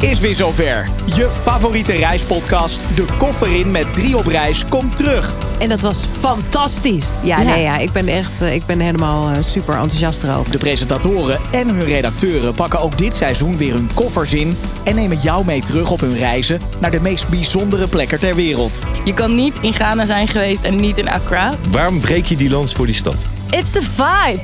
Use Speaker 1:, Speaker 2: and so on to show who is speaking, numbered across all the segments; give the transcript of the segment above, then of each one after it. Speaker 1: is weer zover. Je favoriete reispodcast, De Koffer in met drie op reis, komt terug.
Speaker 2: En dat was fantastisch. Ja,
Speaker 3: Ja.
Speaker 2: Nee, ja ik ben echt eh, ik ben helemaal eh, super enthousiast erover.
Speaker 1: De presentatoren en hun redacteuren pakken ook dit seizoen weer hun koffers in... en nemen jou mee terug op hun reizen naar de meest bijzondere plekken ter wereld.
Speaker 3: Je kan niet in Ghana zijn geweest en niet in Accra.
Speaker 4: Waarom breek je die lans voor die stad?
Speaker 5: It's the vibe.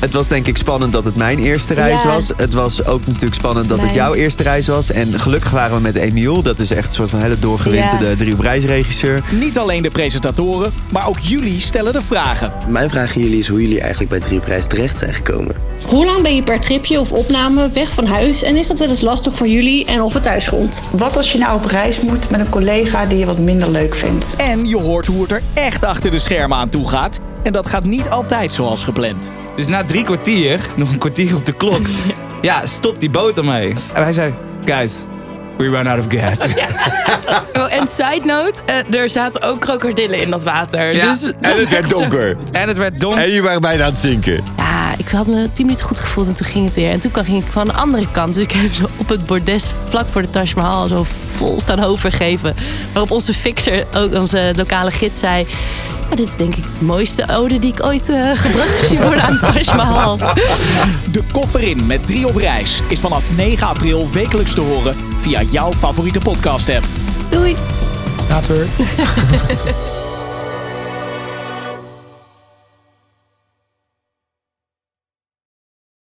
Speaker 6: Het was denk ik spannend dat het mijn eerste reis
Speaker 5: Ja.
Speaker 6: was. Het was ook natuurlijk spannend dat het
Speaker 5: Nee.
Speaker 6: jouw eerste reis was. En gelukkig waren we met Emiel. Dat is echt een soort van hele doorgewinterde
Speaker 5: Ja.
Speaker 6: drie op reis regisseur.
Speaker 1: Niet alleen de presentatoren, maar ook jullie stellen de vragen.
Speaker 7: Mijn vraag aan jullie is hoe jullie eigenlijk bij Drieprijs terecht zijn gekomen.
Speaker 8: Hoe lang ben je per tripje of opname weg van huis en is dat wel eens lastig voor jullie en of het thuis komt?
Speaker 9: Wat als je nou op reis moet met een collega die je wat minder leuk vindt?
Speaker 1: En je hoort hoe het er echt achter de schermen aan toe gaat. En dat gaat niet altijd zoals gepland.
Speaker 10: Dus na drie kwartier, nog een kwartier op de klok. ja, stop die boot ermee. En wij zei, guys, we run out of gas.
Speaker 3: Oh, en side note, eh, er zaten ook krokodillen in dat water.
Speaker 10: Ja,
Speaker 3: Dus
Speaker 10: en
Speaker 3: dat is
Speaker 4: het werd
Speaker 3: echt zo-
Speaker 4: donker.
Speaker 10: en het werd donker.
Speaker 4: En je waren bijna aan het zinken.
Speaker 3: Ja, ik had me tien minuten goed gevoeld en toen ging het weer. En toen kan- ging ik van de andere kant. Dus ik heb zo op het bordes vlak voor de Taj Mahal zo vol staan overgeven. Waarop onze fixer, ook onze lokale gids, zei... "Ja, dit is denk ik de mooiste ode die ik ooit eh, gebracht heb zien worden aan de Taj Mahal.
Speaker 1: De Koffer in met drie op reis is vanaf 9 april wekelijks te horen via jouw favoriete podcast app.
Speaker 3: Doei!
Speaker 1: Later.